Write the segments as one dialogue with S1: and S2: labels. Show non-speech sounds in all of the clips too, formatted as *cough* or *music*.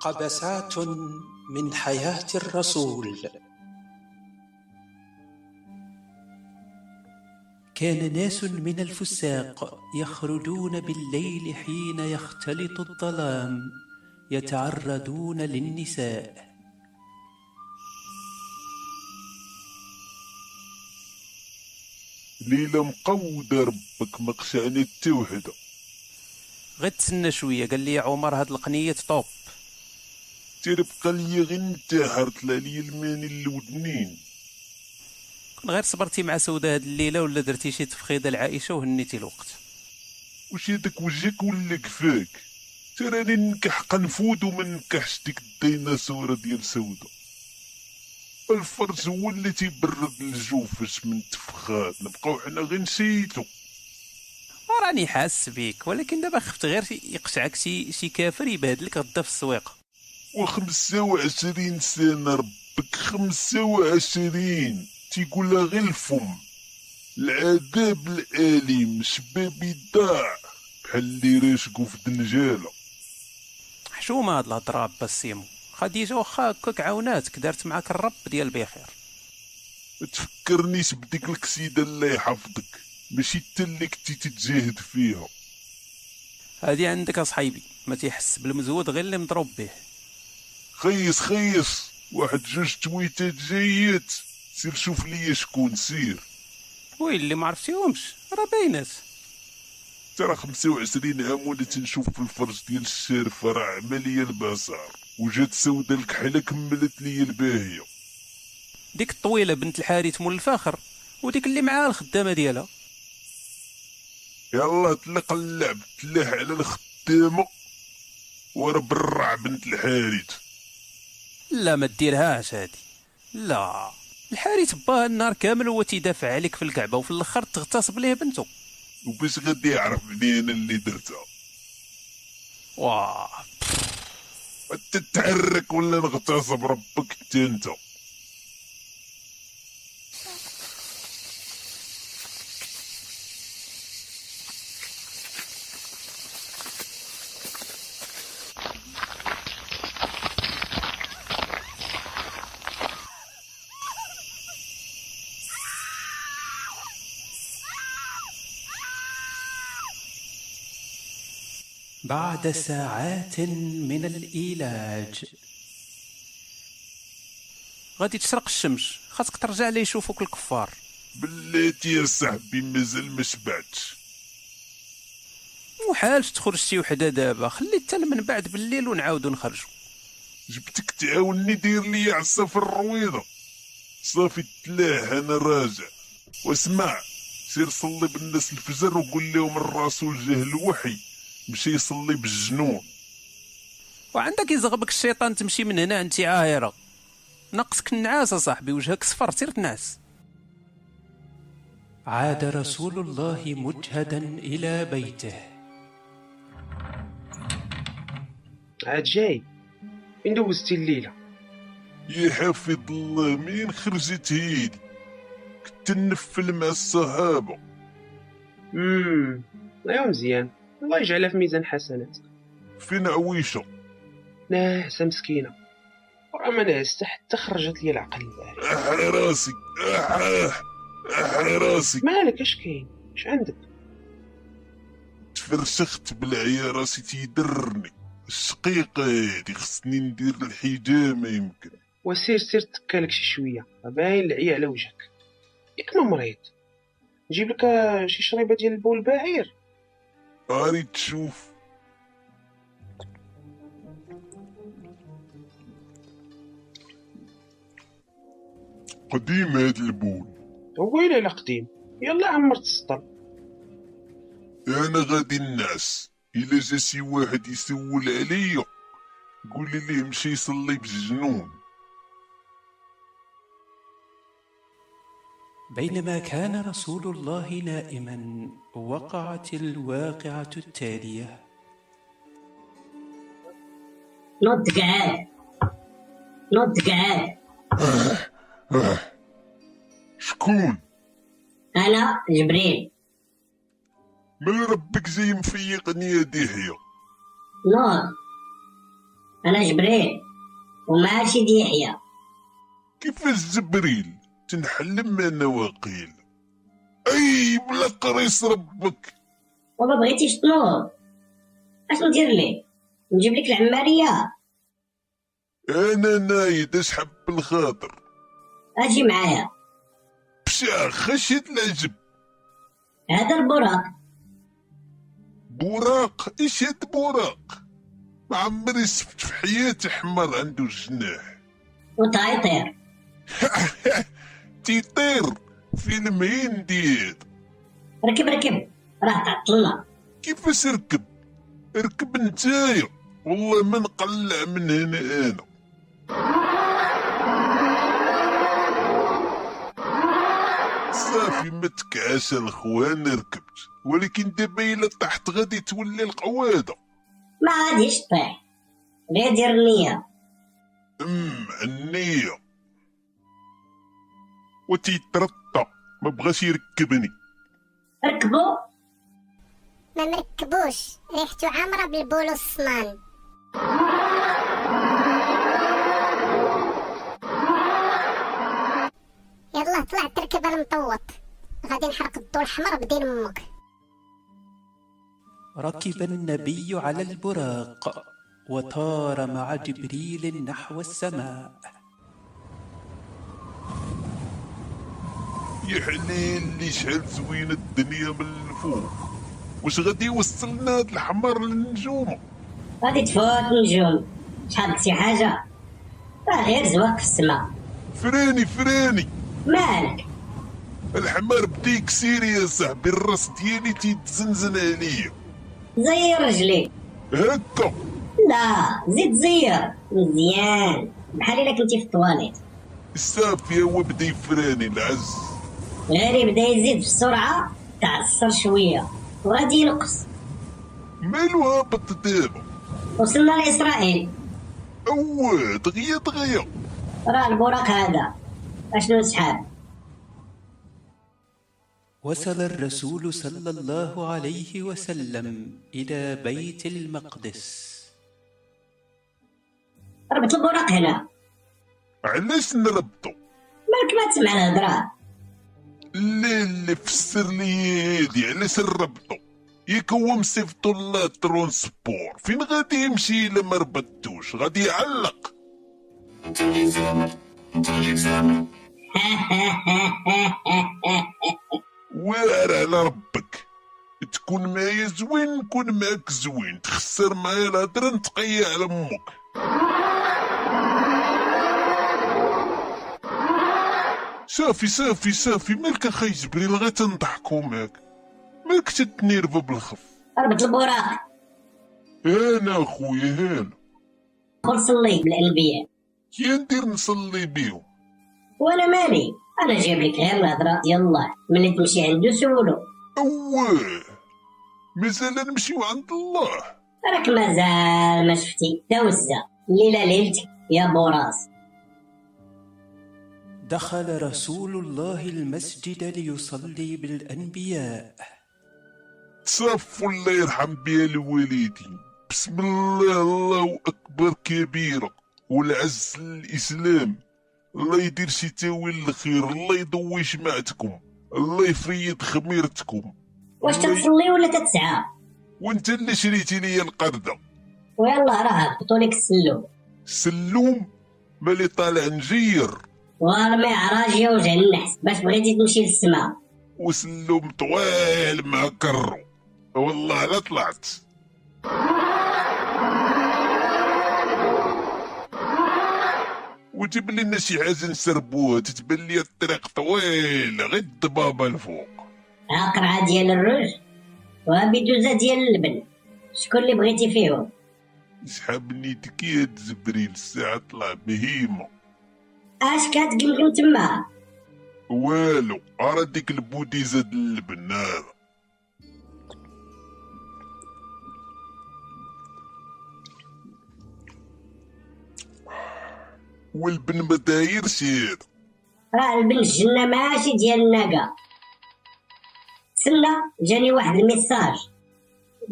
S1: قبسات من حياة الرسول كان ناس من الفساق يخرجون بالليل حين يختلط الظلام يتعرضون للنساء
S2: ليلة مقودة ربك ما قسعني حتى وحدة
S3: غير تسنى شويه قال لي يا عمر هاد القنيه طوب
S2: تيبقى ليا غير انتحر طلع ليا الماني الودنين
S3: كون غير صبرتي مع سوده هاد الليله ولا درتي شي تفخيده لعائشه وهنيتي الوقت
S2: واش هذاك وجهك ولا كفاك تراني ننكح قنفود وما ننكحش ديك الديناصوره ديال سوده الفرز هو اللي تيبرد الجوفس من تفخات نبقاو حنا غير نسيتو
S3: وراني حاس بيك ولكن دابا خفت غير شي- يقشعك شي شي كافر يبهدلك غدا في السويق
S2: وخمسة وعشرين سنة ربك خمسة وعشرين تيقولها غير الفم العذاب الآليم شبابي ضاع بحال اللي راشقو في دنجالة
S3: حشومه هاد الهضره عباس سيمو خديجه واخا هكاك عاوناتك دارت معاك الرب ديال بخير
S2: ما تفكرنيش بديك الكسيدة الله يحفظك ماشي تا اللي كنتي تتجاهد فيها
S3: هادي عندك اصحيبي ما تيحس بالمزود غير اللي مضروب به
S2: خيس خيس واحد جوج تويتات جايات سير شوف ليا شكون سير
S3: ويلي اللي ما عرفتيهمش راه باينات
S2: ترى 25 عام ولا تنشوف في الفرج ديال الشارفة راه عملية البصر وجات سودة الكحلة كملت لي الباهية
S3: ديك الطويله بنت الحارث مول الفاخر وديك اللي معاها الخدامه ديالها
S2: يلا طلق اللعب تلاح على الخدامة ورا برع بنت الحارث
S3: لا ما ديرهاش هادي لا الحارث باها النهار كامل هو تيدافع عليك في الكعبه وفي الاخر تغتصب ليه بنته
S2: وباش غادي يعرف بلي انا اللي درتها
S3: واه
S2: تتحرك ولا نغتصب ربك حتى انت
S1: بعد ساعات من الإيلاج
S3: غادي تشرق الشمس خاصك ترجع لي يشوفوك الكفار
S2: بلاتي يا صاحبي مازال ما شبعتش
S3: وحالش تخرج شي وحده دابا خلي حتى من بعد بالليل ونعاودو نخرجو
S2: جبتك تعاوني دير لي عصا في الرويضة صافي تلاح انا راجع واسمع سير صلي بالناس الفجر وقول لهم الرسول جه الوحي مشي يصلي بالجنون
S3: وعندك يزغبك الشيطان تمشي من هنا انت عاهره نقصك النعاس صاحبي وجهك صفر سير تنعس
S1: عاد رسول الله مجهدا إلى بيته
S4: عاد جاي فين دوزتي الليله
S2: يا حافظ الله مين خرجت هيدي كنت نفل مع الصحابة
S4: امم ايوا مزيان الله يجعلها في ميزان حسناتك
S2: فين عويشة
S4: ناعسه مسكينه وراه ما نعست حتى خرجت لي العقل معاك
S2: احي راسي احاه احي راسي
S4: مالك اش كاين اش عندك
S2: تفرسخت بالعيا راسي تيدرني الشقيقة هادي خصني ندير الحجامة يمكن
S4: وسير سير تكالك شي شويه باين العيا على وجهك ياك ما مريض نجيب لك آه، شي شريبه ديال البول باعير
S2: أري تشوف قديم هاد البول
S4: هو الا لا قديم يلا عمرت السطر
S2: أنا غادي الناس إلا جا شي واحد يسول عليا قولي ليه مشي يصلي بالجنون
S1: بينما كان رسول الله نائما وقعت الواقعة التالية
S5: نض كعاب نض كعاب
S2: آه. شكون
S5: انا جبريل
S2: مال ربك جاي مفيقني يا دحية
S5: نوض انا جبريل ومعاك سيدي يحيى
S2: كيفاش جبريل تنحلم انا واقيل اي بلا قريص ربك
S5: وما بغيتيش تنوض اشنو ندير لك نجيب لك العماريه
S2: انا نايد اشحب الخاطر
S5: اجي معايا
S2: بشع خشيت العجب
S5: هذا البراق
S2: بوراق ايش هاد بوراق ما عمري شفت في حياتي حمار عنده جناح *laughs*
S5: وتعيطير
S2: تيطير فيلم هندي هاد.
S5: ركب ركب راه تعطلنا
S2: كيفاش ركب ركب نتايا والله ما نقلع من هنا انا صافي ما تكعس الخوان ركبت ولكن دابا الا طحت غادي تولي القواده
S5: ما غاديش تطيح غير دير النية
S2: ام النية وتيترطى ما بغاش يركبني
S5: ركبوا
S6: ما مركبوش ريحته عامرة بالبولو الصمان يلا طلع تركب المطوط غادي نحرق الضو الحمر بدين امك
S1: ركب النبي على البراق وطار مع جبريل نحو السماء
S2: يا حليل اللي شحال زوينة الدنيا من الفوق واش غادي يوصلنا هاد الحمار للنجومة
S5: غادي تفوت نجوم شحال شي حاجة راه غير زواق في السما
S2: فراني فراني
S5: مالك
S2: الحمار بدا يكسير يا صاحبي الراس ديالي تيتزنزن عليا
S5: زير رجليك
S2: هكا
S5: لا زيد زير مزيان بحال الا كنتي في الطواليت
S2: صافي هو بدا يفراني العز
S5: غير بدا يزيد في السرعة تعصر شوية وغادي ينقص
S2: مالو هابط دابا
S5: وصلنا لإسرائيل
S2: اوه دغيا دغيا
S5: راه البراق هذا اشنو سحاب
S1: وصل الرسول صلى الله عليه وسلم إلى بيت المقدس
S5: ربط البراق هنا
S2: علاش نربطو
S5: مالك ما تسمع الهضرة
S2: لا لا فسر لي هادي علاش نربطو ياك هو مصيفطو لا ترونسبور فين غادي يمشي الا ما ربطتوش غادي يعلق واعر على ربك تكون معايا زوين نكون معاك زوين تخسر معايا الهضره نتقيا على امك صافي صافي صافي مالك اخاي جبريل غير تنضحكو معاك مالك تتنيرفا بالخف
S5: ربط البراق
S2: انا اخويا هانا
S5: قول صلي بالانبياء
S2: يا ندير نصلي بيهم
S5: وانا مالي انا جايب لك غير الهضره ديال الله ملي تمشي عنده سولو
S2: اواه مازال نمشيو عند الله
S5: راك مازال ما شفتي دوزه ليله ليلتك يا بوراس
S1: دخل رسول الله المسجد ليصلي بالأنبياء
S2: صف الله يرحم بها الوالدين بسم الله الله اكبر كبيره والعز للاسلام الله يدير شي تاويل الخير الله يضوي شمعتكم الله يفريد خميرتكم
S5: واش
S2: الله ي-
S5: تتصلي ولا تتسعى
S2: وانت اللي شريتي لي القرده
S5: ويلا راه هبطوا لك السلو
S2: سلوم مالي طالع نجير
S5: وارمي عراجي وجه النحس باش بغيتي تمشي للسما
S2: وسلوم طويل ما كرو والله لا طلعت وجيب لنا شي حاجه نسربوها تتبان لي الطريق طويل غير الضبابه الفوق
S5: ها قرعه ديال الرز وبدوزه ديال اللبن شكون اللي بغيتي فيهم
S2: سحابني تكي هاد زبريل الساعه طلع بهيمه
S5: اش كتقمقم تما
S2: والو ارى ديك البودي زاد اللبن هذا والبن ما دايرش هذا
S5: راه البن الجنه ماشي ديال الناقه سلا جاني واحد الميساج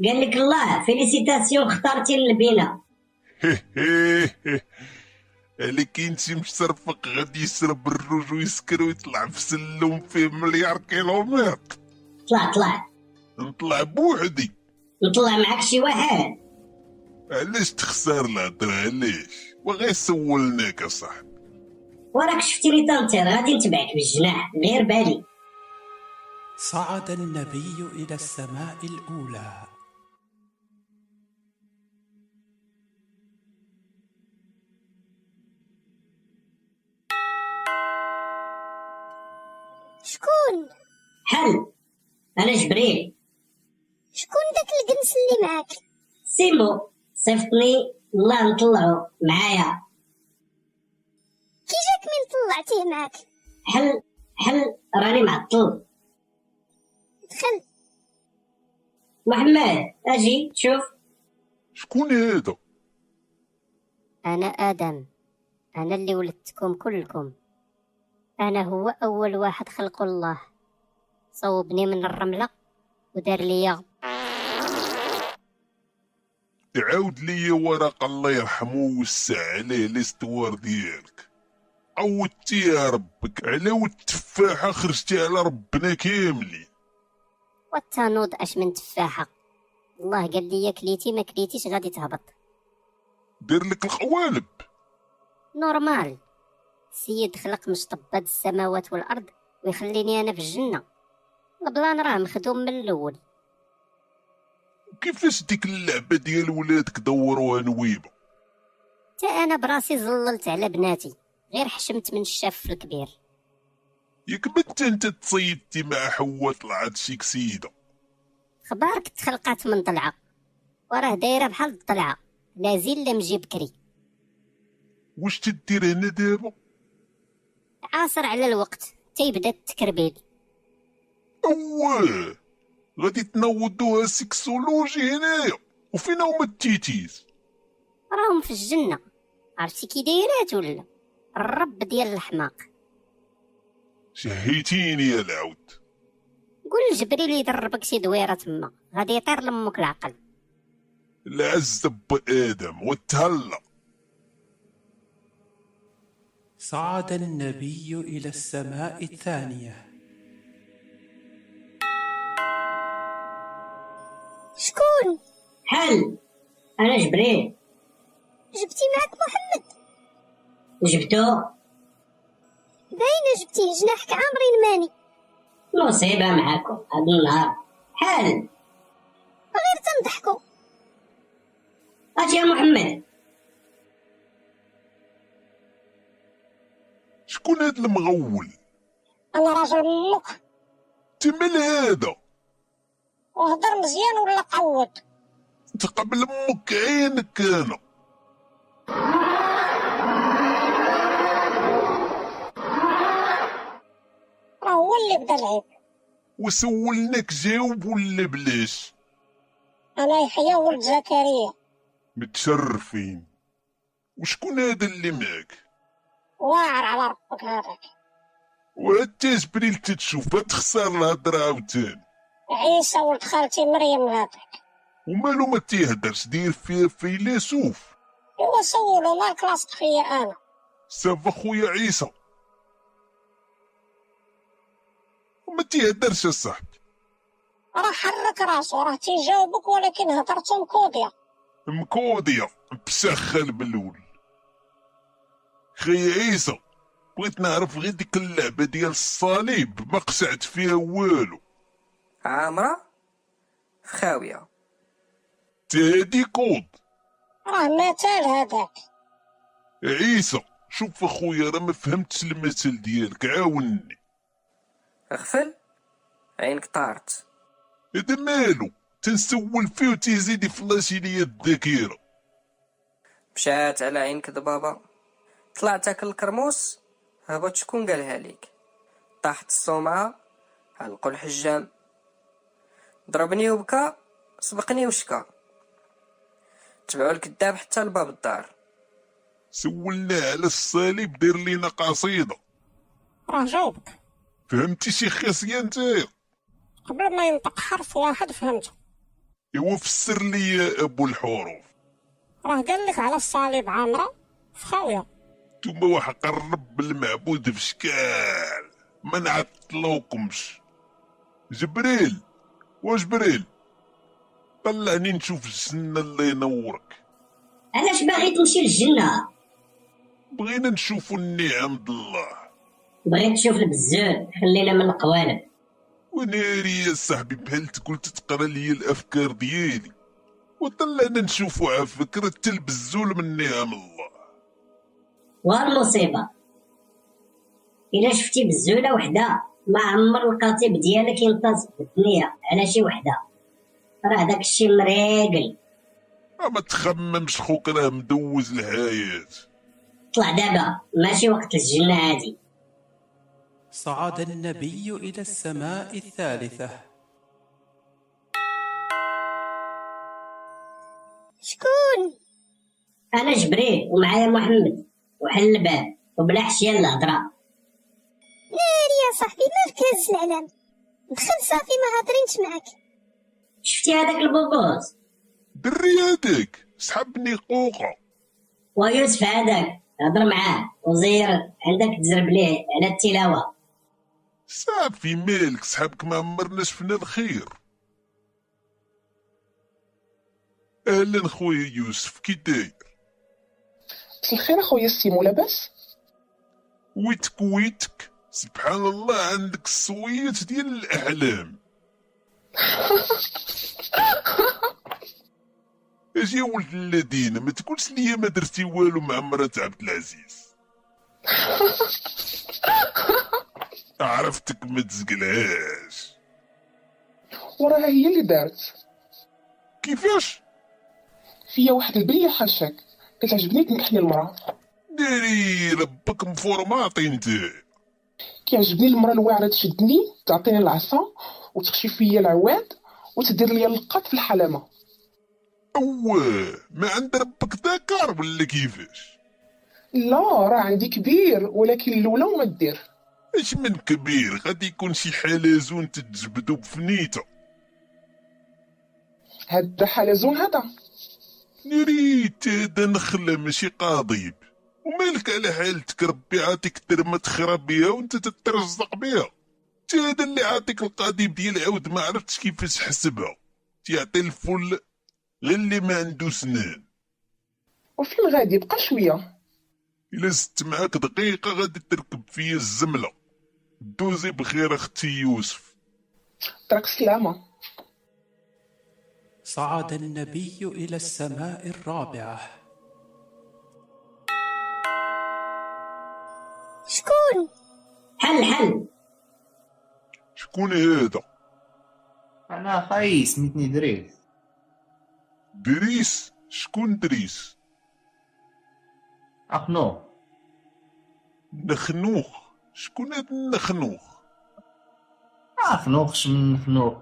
S5: قال لك الله فيليسيتاسيون اختارتي اللبنه
S2: *laughs* عليك انت مشرفق غادي يسرب الروج ويسكر ويطلع في سلم فيه مليار كيلومتر
S5: طلع طلع
S2: نطلع بوحدي
S5: وطلع معك شي واحد
S2: علاش تخسر الهضره علاش وغير سولناك اصاحبي
S5: وراك شفتي لي طنطير غادي نتبعك بالجناح غير بالي
S1: صعد النبي إلى السماء الأولى
S6: شكون
S5: حل انا جبريل
S6: شكون داك الجنس اللي معاك
S5: سيمو صيفطني الله نطلعو معايا
S6: كي جاك من طلعتيه معاك
S5: حل حل راني معطل
S6: دخل
S5: محمد اجي شوف
S2: شكون هذا
S7: أنا آدم أنا اللي ولدتكم كلكم أنا هو أول واحد خلق الله صوبني من الرملة ودار لي
S2: عاود لي ورق الله يرحمه ووسع عليه الاستوار ديالك عودتيها ربك علاو التفاحه خرجتي على ربنا كاملين
S7: والتنوض أش من تفاحة الله قال لي كليتي ما كليتيش غادي تهبط
S2: دير لك القوالب
S7: نورمال سيد خلق مشطبات السماوات والأرض ويخليني أنا في الجنة البلان راه مخدوم من الأول
S2: كيفاش ديك اللعبه ديال ولادك دوروها نويبه
S7: تا أنا براسي زللت على بناتي غير حشمت من الشاف الكبير
S2: ياك بنت انت تصيدتي مع حواء طلعت شيك سيده
S7: خبارك تخلقات من طلعه وراه دايره بحال الطلعه لا زين لا مجي بكري
S2: واش تدير هنا دابا
S7: عاصر على الوقت تيبدا التكربيل
S2: اواه غادي تنوضوها سيكسولوجي هنايا وفين هما التيتيز
S7: راهم في الجنه عرفتي كي دايرات ولا الرب ديال الحماق
S2: شهيتيني يا العود
S7: قول لجبريل يدربك شي دويره تما غادي يطير لمك العقل
S2: العزب ادم وتهلا
S1: صعد النبي إلى السماء الثانية
S6: شكون
S5: حل انا جبريل
S6: جبتي معاك محمد
S5: وجبتو
S6: باينه جبتيه جناحك عامري الماني
S5: مصيبه معاكم هاد النهار حل
S6: غير تنضحكوا
S5: اجي يا محمد
S2: شكون هاد المغول
S6: انا رجل اللقا
S2: تمل هذا
S6: وهضر مزيان ولا قوض
S2: تقبل امك عينك انا
S6: راه هو اللي بدا العيب
S2: وسولناك جاوب ولا بلاش
S6: انا يحيى ولد زكريا
S2: متشرفين وشكون هذا اللي معاك
S6: واعر على ربك هذاك
S2: وحتى جبريل تتشوف ما تخسر الهضره عاوتاني
S6: عيسى ولد خالتي مريم هذاك
S2: ومالو ما تيهدرش دير فيها فيلسوف
S6: هو سولو ما كلاصق فيا انا
S2: سافا خويا عيسى وما تيهدرش اصاحبي
S6: راه حرك راسو راه تيجاوبك ولكن هضرتو مكوضيه
S2: مكودية بسخن بالول خي عيسى بغيت نعرف غير ديك اللعبة ديال الصليب ما قسعت فيها والو
S8: عامرة خاوية
S2: تهدي كود
S6: راه مثال هذاك
S2: إيه، عيسى شوف اخويا راه ما فهمتش المثل ديالك عاوني
S8: اغفل عينك طارت
S2: هذا مالو تنسول فيه وتيزيد يفلاشي ليا الذاكرة
S8: مشات على عينك ضبابة طلعت تاكل الكرموس هبط شكون قالها ليك طاحت الصومعة علقو الحجام ضربني وبكى سبقني وشكى تبعو الكذاب حتى لباب الدار
S2: سولنا على الصليب دير لينا قصيدة
S9: راه جاوبك
S2: فهمتي شي خاصية نتايا
S9: قبل ما ينطق حرف واحد فهمته
S2: ايوا فسر لي يا ابو الحروف
S9: راه قال لك على الصليب عامرة في خاوية
S2: نتوما واحد قرب المعبود في شكال ما نعطلوكمش جبريل وجبريل طلعني نشوف السنة الله ينورك
S5: علاش باغي تمشي للجنة
S2: بغينا نشوفوا النعم د الله
S5: بغيت تشوف البزاف خلينا من القوالب
S2: وناري يا صاحبي بحال تقول تتقرا لي الافكار ديالي وطلعنا نشوفوا على فكرة تلبزول من نعم الله
S5: والمصيبة إلا شفتي بزولة وحدة ما عمر القطيب ديالك ينتصب بالدنيا على شي وحدة راه داك الشي مريقل
S2: ما تخممش خوك راه مدوز الحياة
S5: طلع دابا ماشي وقت الجنة عادي
S1: صعد النبي إلى السماء الثالثة
S6: شكون
S5: أنا جبريل ومعايا محمد وحل الباب وبلا حشية الهضرة
S6: ناري يا صاحبي مالك هز العلام دخل صافي ما هضرينش معاك
S5: شفتي هذاك البوبوز
S2: دري هذاك سحبني قوقه
S5: ويوسف هذاك هضر معاه وزير عندك تزرب ليه على التلاوة
S2: صافي مالك صحابك ما عمرنا شفنا الخير اهلا خويا يوسف كي داير
S10: مساء الخير اخويا السيمو لاباس
S2: ويتك ويتك سبحان الله عندك الصويت ديال الاحلام اجي يا ولد الذين ما تقولش لي ما درتي والو مع مرات عبد العزيز عرفتك ما تزقلهاش
S10: *laughs* وراها هي اللي دارت
S2: كيفاش
S10: فيا واحد البيه حاشاك كتعجبني تنكحني المراه
S2: داري ربك مفورماطي انت
S10: كيعجبني المراه الواعره تشدني تعطيني العصا وتخشي فيا العواد وتدير لي اللقات في الحلمه
S2: اوه ما عند ربك ذكر ولا كيفاش
S10: لا راه عندي كبير ولكن الاولى وما دير
S2: اش من كبير غادي يكون شي حلزون تتجبدو بفنيته
S10: هذا حلزون هذا
S2: نريت هذا نخلة ماشي قضيب ومالك على حالتك ربي عاطيك درمة تخرب بيها وانت تترزق بيها تا هذا اللي عاطيك القضيب ديال عود ما عرفتش كيفاش حسبها تيعطي الفل غير اللي ما عنده سنان
S10: وفين غادي بقى شويه
S2: الا زدت معاك دقيقة غادي تركب فيا الزملة دوزي بخير اختي يوسف
S10: طرق سلامه
S1: صعد النبي إلى السماء الرابعة
S6: شكون
S5: حل حل
S2: شكون هذا
S11: انا خاي سميتني دريس
S2: دريس شكون دريس
S11: اخنو
S2: نخنوخ شكون هاد النخنوخ
S11: اخنوخش من خنوخ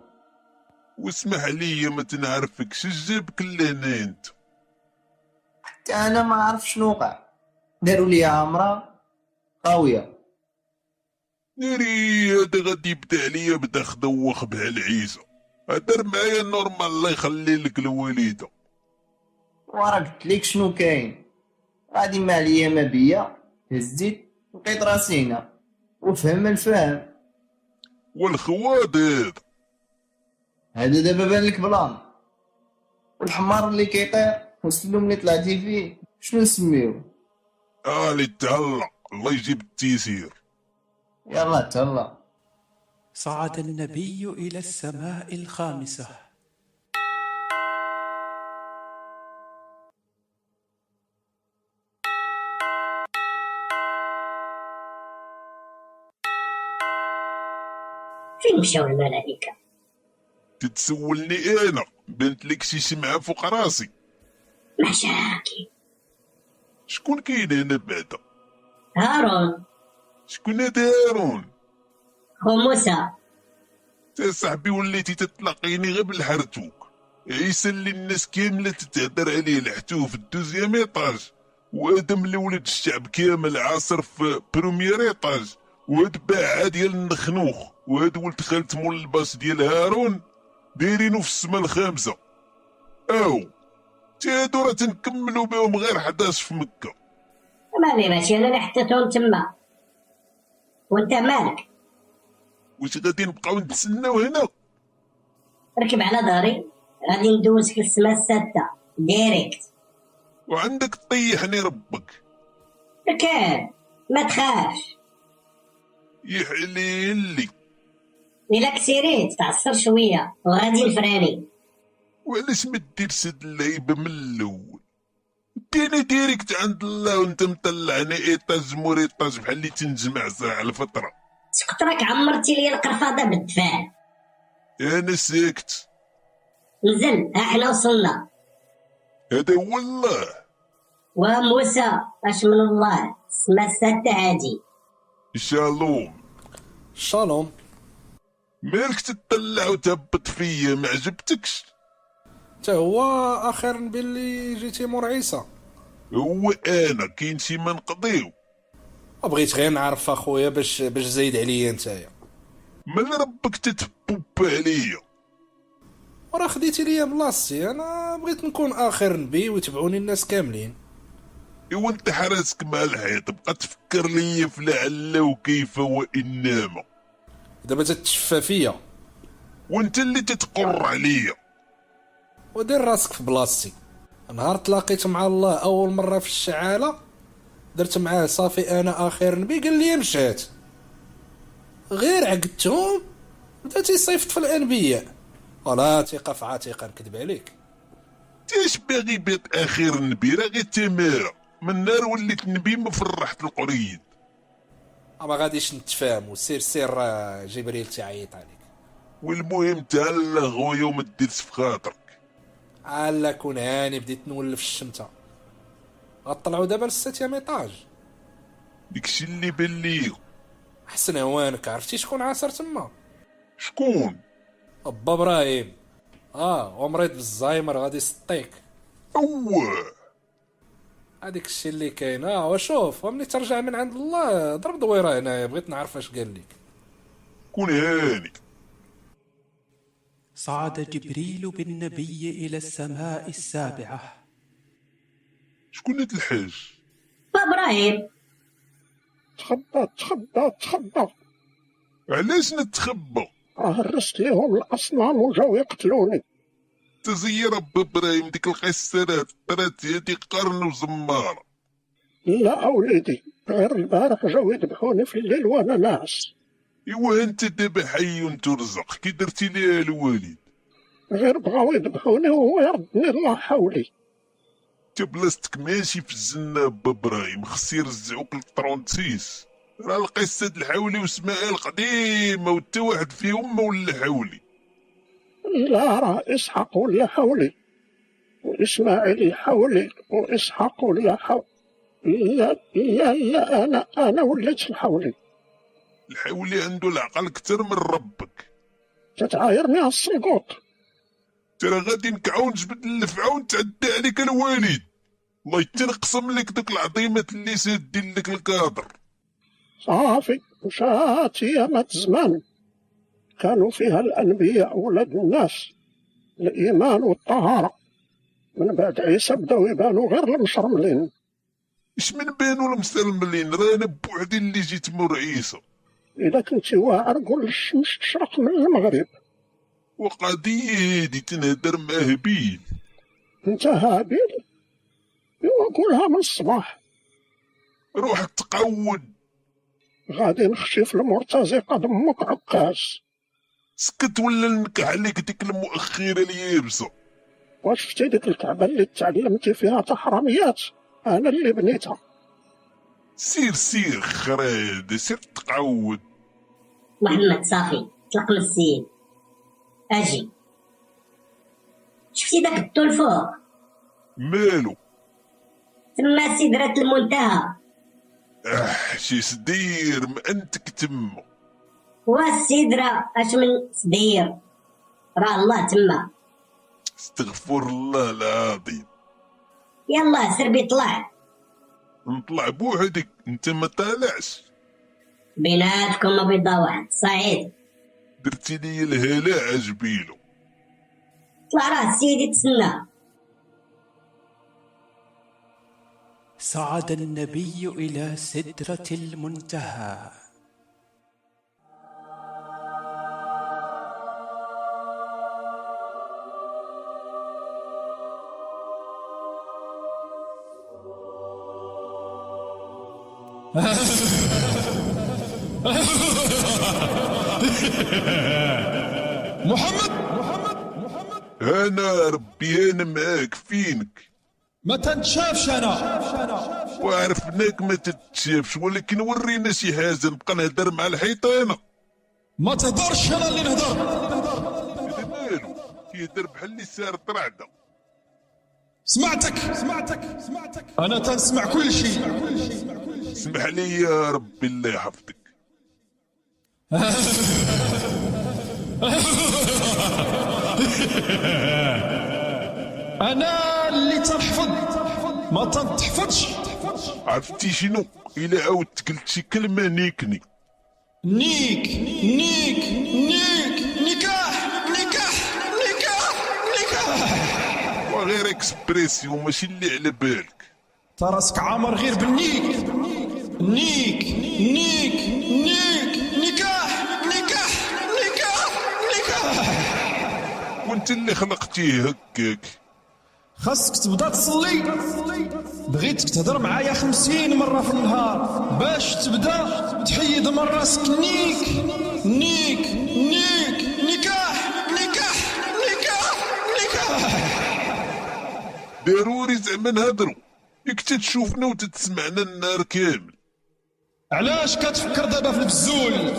S2: واسمح لي ما تنعرفكش اش جابك لهنا انت
S11: حتى انا ما عرف شنو وقع داروا لي امراه خاويه
S2: ناري هذا غادي يبدا عليا بدا خدوخ بحال عيسى هدر معايا نورمال الله يخلي لك الوالده
S11: ورا قلت لك شنو كاين غادي ما عليا ما بيا هزيت لقيت راسي هنا وفهم الفهم
S2: والخواد هذا
S11: هذا دابا بان لك بلان والحمار اللي كيطير والسلم اللي طلعتي فيه شنو نسميو
S2: آلي تهلا الله يجيب التيسير
S11: يلا تهلا
S1: صعد النبي إلى السماء الخامسة
S5: فين مشاو الملائكة
S2: تتسولني انا بنت لك شي سمعه فوق راسي
S5: محشاكي
S2: شكون كاين هنا بعدا
S5: هارون
S2: شكون هذا هارون
S5: خو موسى
S2: تا صاحبي وليتي تتلاقيني غير بالحرتوك عيسى اللي الناس كامله تتهدر عليه لحتو في الدوزيام ايطاج وادم اللي ولد الشعب كامل عاصر في بروميير ايطاج وهاد باعة ديال النخنوخ وهاد ولد خالت مول الباص ديال هارون دايرينو في السما الخامسة او تي هادو راه تنكملوا بهم غير 11 في مكه
S5: ما بي ماشي انا اللي حطيتهم تما وانت مالك
S2: واش غادي نبقاو نتسناو هنا
S5: ركب على ظهري غادي ندوزك للسما السادسه ديريكت
S2: وعندك طيحني ربك
S5: ركب ما تخافش
S2: يحلي لي
S5: الا كسيريت تعصر شويه وغادي نفراني
S2: وعلاش ما دير سد اللعيبه من الاول ديني ديريكت عند الله وانت مطلعني إيه ايطاج مور ايطاج بحال اللي تنجمع ساعه على فتره
S5: سكت راك عمرتي لي القرفاضه بالدفاع
S2: انا ساكت
S5: نزل ها حنا وصلنا
S2: هذا هو الله
S5: وموسى اش من الله سما السادسه عادي
S2: شالوم
S3: شالوم
S2: مالك تطلع وتهبط فيا ما عجبتكش
S12: حتى هو اخيرا باللي جيتي مور عيسى
S2: هو انا كاين شي ما نقضيو
S12: بغيت غير نعرف اخويا باش باش زايد عليا نتايا
S2: من ربك تتبوب عليا
S12: وراه خديتي ليا بلاصتي انا بغيت نكون اخر نبي ويتبعوني الناس كاملين
S2: ايوا انت حراسك مع الحيط بقى تفكر ليا في لعل وكيف وانما
S12: دابا تتشفى فيا
S2: وانت اللي تتقر عليا
S12: ودير راسك في بلاصتي نهار تلاقيت مع الله اول مره في الشعاله درت معاه صافي انا اخر نبي قال لي مشات غير عقدتهم بدا تيصيفط في الانبياء ولا ثقه في عتيقه نكذب عليك
S2: تيش باغي بيت اخير النبي راه غير تماره من نار وليت نبي ما فرحت القريد
S12: ما غاديش نتفاهموا سير سير راه جبريل تيعيط عليك
S2: والمهم تهلا خويا وما ديرش في خاطرك
S12: عالا كون هاني بديت نولف الشمته غطلعوا دابا للسيتيام ايطاج
S2: داكشي اللي بان ليا
S12: حسن هوانك عرفتي شكون عاصر تما
S2: شكون
S12: با ابراهيم اه ومريض بالزهايمر غادي يسطيك
S2: اوه
S12: هذيك الشيء اللي كاين اه وشوف وملي ترجع من عند الله ضرب دويره هنايا بغيت نعرف اش قال لك
S2: كون هاني
S1: صعد جبريل بالنبي إلى السماء السابعة
S2: شكون هاد الحاج
S5: ابراهيم
S10: تخبى تخبى تخبى
S2: علاش نتخبى
S10: هرست ليهم الاصنام وجاو يقتلوني
S2: تزير رب ابراهيم ديك القيسرات طرات هادي قرن وزماره
S10: لا اوليدي غير البارح جاو يذبحوني في الليل وانا ناعس
S2: ايوا انت دابا حي وترزق كي درتي ليها الوالد
S10: غير بغاو يذبحوني وهو يردني الله حولي
S2: انت بلاصتك ماشي في الجنه با ابراهيم خص يرجعوك للطرونتيس راه القصه د الحولي واسماعيل قديمه وتا واحد فيهم ما ولا حولي
S10: لا راه اسحق ولا حولي واسماعيل حولي واسحق ولا حولي لا لا لا انا انا وليت حولي
S2: الحولي عنده العقل كتر من ربك
S10: تتعايرني على السلقوط
S2: ترى غادي نكعو نجبد اللفعه ونتعدى عليك الوالد الله تنقسم لك دوك العظيمات اللي سادين لك الكادر
S10: صافي مشات ايامات زمان كانوا فيها الانبياء ولاد الناس الايمان والطهاره من بعد عيسى بداو يبانوا غير المشرملين
S2: اش من بانوا المسلمين راه انا بوحدي اللي جيت مور عيسى
S10: الا كنتي واعر قول الشمس تشرق من المغرب
S2: وقضية هادي تنهدر مع هبيل
S10: انت هابيل إوا قولها من الصباح
S2: روح تقود
S10: غادي نخشي في المرتزقه دمك عكاز
S2: سكت ولا نكح عليك ديك المؤخرة اليابسة
S10: واش شفتي ديك الكعبه اللي تعلمتي فيها تحرميات انا اللي بنيتها
S2: سير سير خراد سير تقعود
S5: محمد صافي طلق من السيد اجي شفتي داك الطول فوق
S2: مالو
S5: تما سدرة المنتهى
S2: اه شي سدير ما انتك تما
S5: والسدرة اش من صدير راه الله تما
S2: استغفر الله العظيم
S5: يلا سربي طلع
S2: نطلع بوحدك انت ما طالعش
S5: بيناتكم ما بيضا واحد صعيد
S2: درتي لي الهلاعة جبيلو
S5: طلع راه سيدي تسنى
S1: صعد النبي إلى سدرة المنتهى
S13: محمد
S2: انا ربي انا معاك فينك
S13: ما تنشافش انا
S2: وعرفناك ما تتشافش ولكن ورينا شي حاجه نبقى نهدر مع الحيطانه
S13: ما تهضرش انا اللي نهضر
S2: مالو كيهدر بحال اللي سار طرعده
S13: سمعتك سمعتك سمعتك انا تنسمع كل شيء
S2: اسمح لي يا ربي الله يحفظك
S13: *laughs* انا اللي تنحفظ ما تنتحفظش
S2: عرفتي شنو الا عاودت قلت شي كلمه نيكني
S13: نيك نيك نيك نكاح نكاح نكاح نكاح
S2: وغير اكسبريسيون ماشي اللي على بالك
S13: تراسك عامر غير بالنيك نيك نيك نيك نكاح نكاح نكاح نكاح
S2: وانت اللي خلقتيه هكاك
S13: خاصك تبدا تصلي بغيتك تهضر معايا خمسين مرة في النهار باش تبدا تحيد من راسك نيك نيك نيك نكاح نكاح نكاح نكاح
S2: ضروري زعما نهضروا ياك تتشوفنا وتتسمعنا النهار كامل
S13: علاش كتفكر دابا في البزول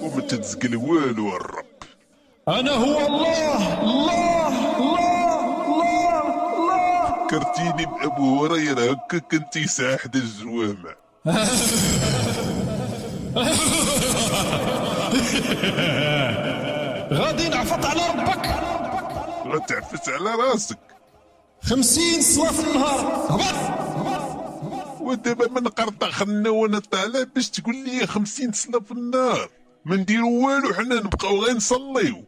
S2: وما تتزقل والو الرب
S13: انا هو الله الله الله الله الله *laughs*
S2: فكرتيني بابو هريره هكا كنت يسعى حدا الجوامع
S13: غادي نعفط على ربك
S2: غتعفس على راسك
S13: خمسين صلاة في النهار هبط
S2: ودابا ما نقرطخنا وانا طالع باش تقول لي 50 صلاه في النار ما نديرو والو حنا نبقاو غير نصليو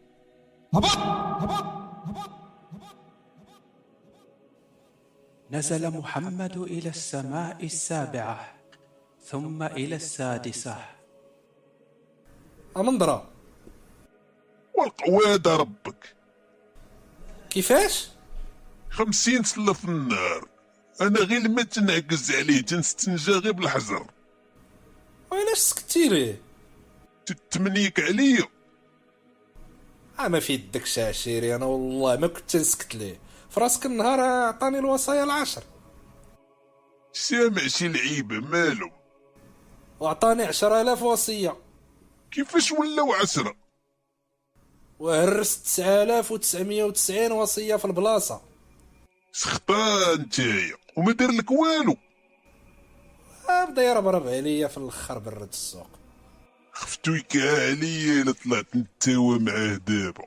S13: هبط
S1: نزل محمد إلى السماء السابعة ثم إلى السادسة
S12: المنظرة
S2: والقواد ربك
S12: كيفاش
S2: 50 صله في النار انا غير ما تنعكز عليه تنستنجى غير بالحجر
S12: وعلاش سكتي ليه
S2: تتمنيك عليا
S12: اه ما في يدك شاشيري انا والله ما كنت نسكت ليه في راسك النهار عطاني الوصايا العشر
S2: سامع شي لعيبه مالو
S12: وعطاني عشرة آلاف وصية
S2: كيفاش ولاو عشرة
S12: وهرست تسعة آلاف وتسعمية وتسعين وصية في البلاصة
S2: سخطان نتايا وما دار لك والو
S12: آه بدا يربرب عليا في الاخر برد السوق
S2: خفتو يكا عليا الا طلعت نتاوى معاه دابا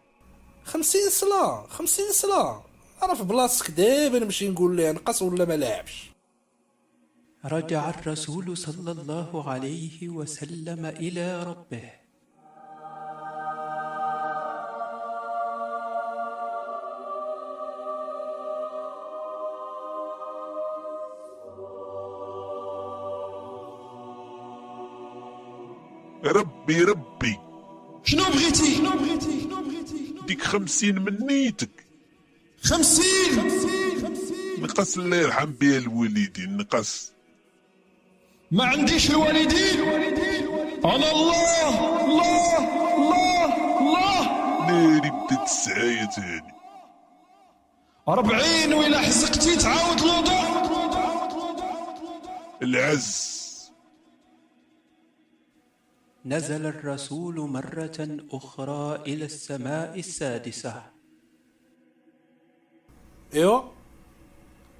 S12: خمسين صلاة خمسين صلاة أنا في بلاصتك دابا نمشي نقول ليه نقص ولا ما لعبش
S1: رجع الرسول صلى الله عليه وسلم إلى ربه
S2: ربي ربي
S13: شنو بغيتي شنو بغيتي شنو بغيتي
S2: ديك خمسين من نيتك
S13: خمسين
S2: نقص الله يرحم بها الوالدين نقص
S13: ما عنديش الوالدين انا الله الله الله الله
S2: ناري بدات السعاية هادي
S13: أربعين وإلا حزقتي تعاود الوضوء
S2: العز
S1: نزل الرسول مرة أخرى إلى السماء السادسة
S12: ايوا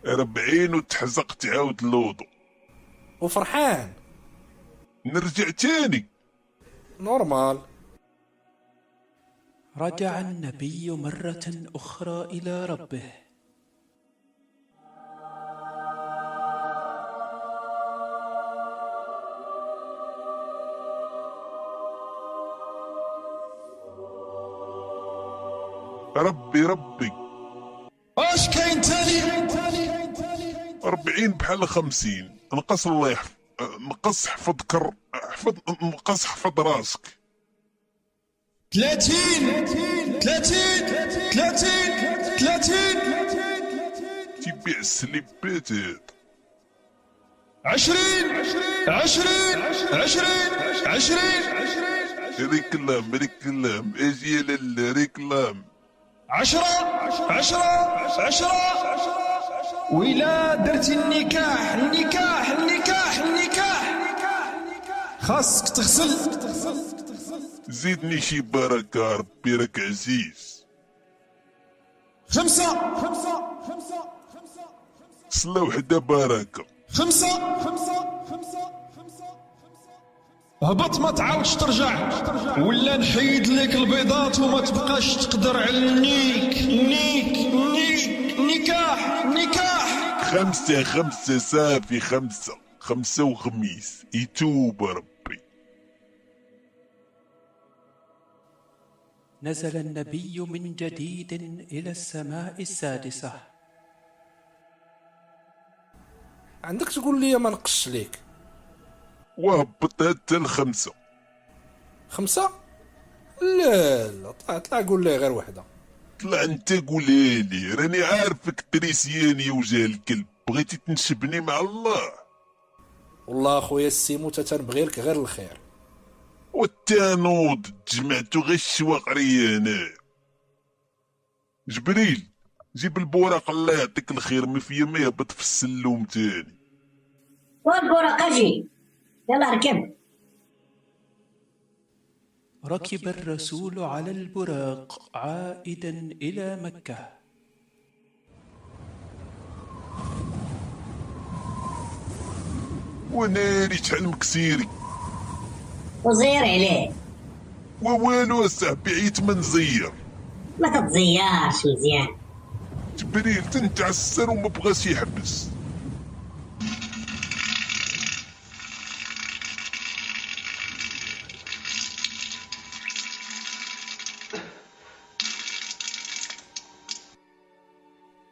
S2: ربعين وتحزق تعاود الوضو
S12: وفرحان
S2: نرجع تاني
S12: نورمال
S1: رجع النبي مرة أخرى إلى ربه
S2: ربي ربي
S13: اش كاين تاني
S2: 40 بحال 50 نقص الله يحفظ نقص حفظ كر حفظ نقص حفظ راسك
S13: 30 30 30 30
S2: تبيع السليبات هاد
S13: 20 20 20 20
S2: ريكلام ريكلام اجي يا لالا ريكلام
S13: 10 10 10 ويلا درتي النكاح النكاح النكاح النكاح خاصك تغسل
S2: زيدني شي بركة ربي راك عزيز
S13: خمسة خمسة
S2: صلاة وحدة بركة
S13: خمسة هبط ما تعاودش ترجع ولا نحيد لك البيضات وما تبقاش تقدر على النيك نيك نيك نكاح نكاح
S2: خمسة خمسة صافي خمسة خمسة وخميس يتوب ربي
S1: نزل النبي من جديد إلى السماء السادسة
S12: عندك تقول لي ما نقصش ليك
S2: وهبط حتى الخمسة
S12: خمسة لا لا طلع طلع قول لي غير وحدة
S2: طلع انت قولي لي راني عارفك تريسياني وجه الكلب بغيتي تنشبني مع الله
S12: والله اخويا السيمو تا تنبغي لك غير الخير
S2: والتانوض تجمعتو غير الشواقرية انا جبريل جيب البوراق الله يعطيك الخير ما فيا ما يهبط في السلوم تاني
S5: والبوراق اجي يلا ركب
S1: ركب الرسول على البراق عائدا إلى مكة
S2: وناري شحال مكسيري
S5: وزير عليه
S2: ووالو صاحبي عيت ما نزير
S5: ما تتزيارش مزيان
S2: جبريل تنتعسر وما بغاش يحبس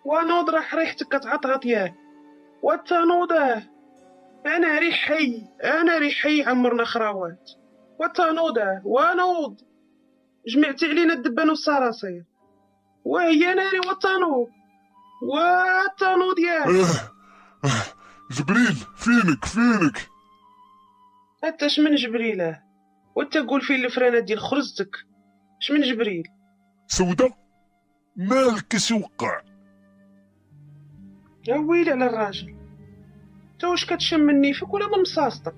S4: ونوض راح ريحتك كتعطهط ياك وانت نوضه انا ريح حي انا ريح حي عمرنا خراوات وانت نوضه ونوض جمعتي علينا الدبان والصراصير وهي ناري وانت نوض وانت نوض ياك
S2: جبريل فينك فينك
S4: انت شمن جبريله وانت قول فين الفرانات ديال خرزتك شمن جبريل
S2: سودة مالك اش وقع
S4: يا ويلي على الراجل تا واش كتشم من نيفك ولا من مصاصتك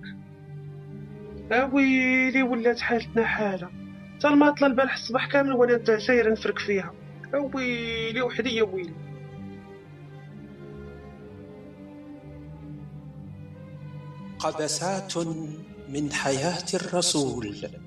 S4: يا ويلي ولات حالتنا حالة تا الماطلة البارح الصباح كامل وانا تا سايرة نفرك فيها يا ويلي وحدي يا ويلي
S1: قبسات من حياة الرسول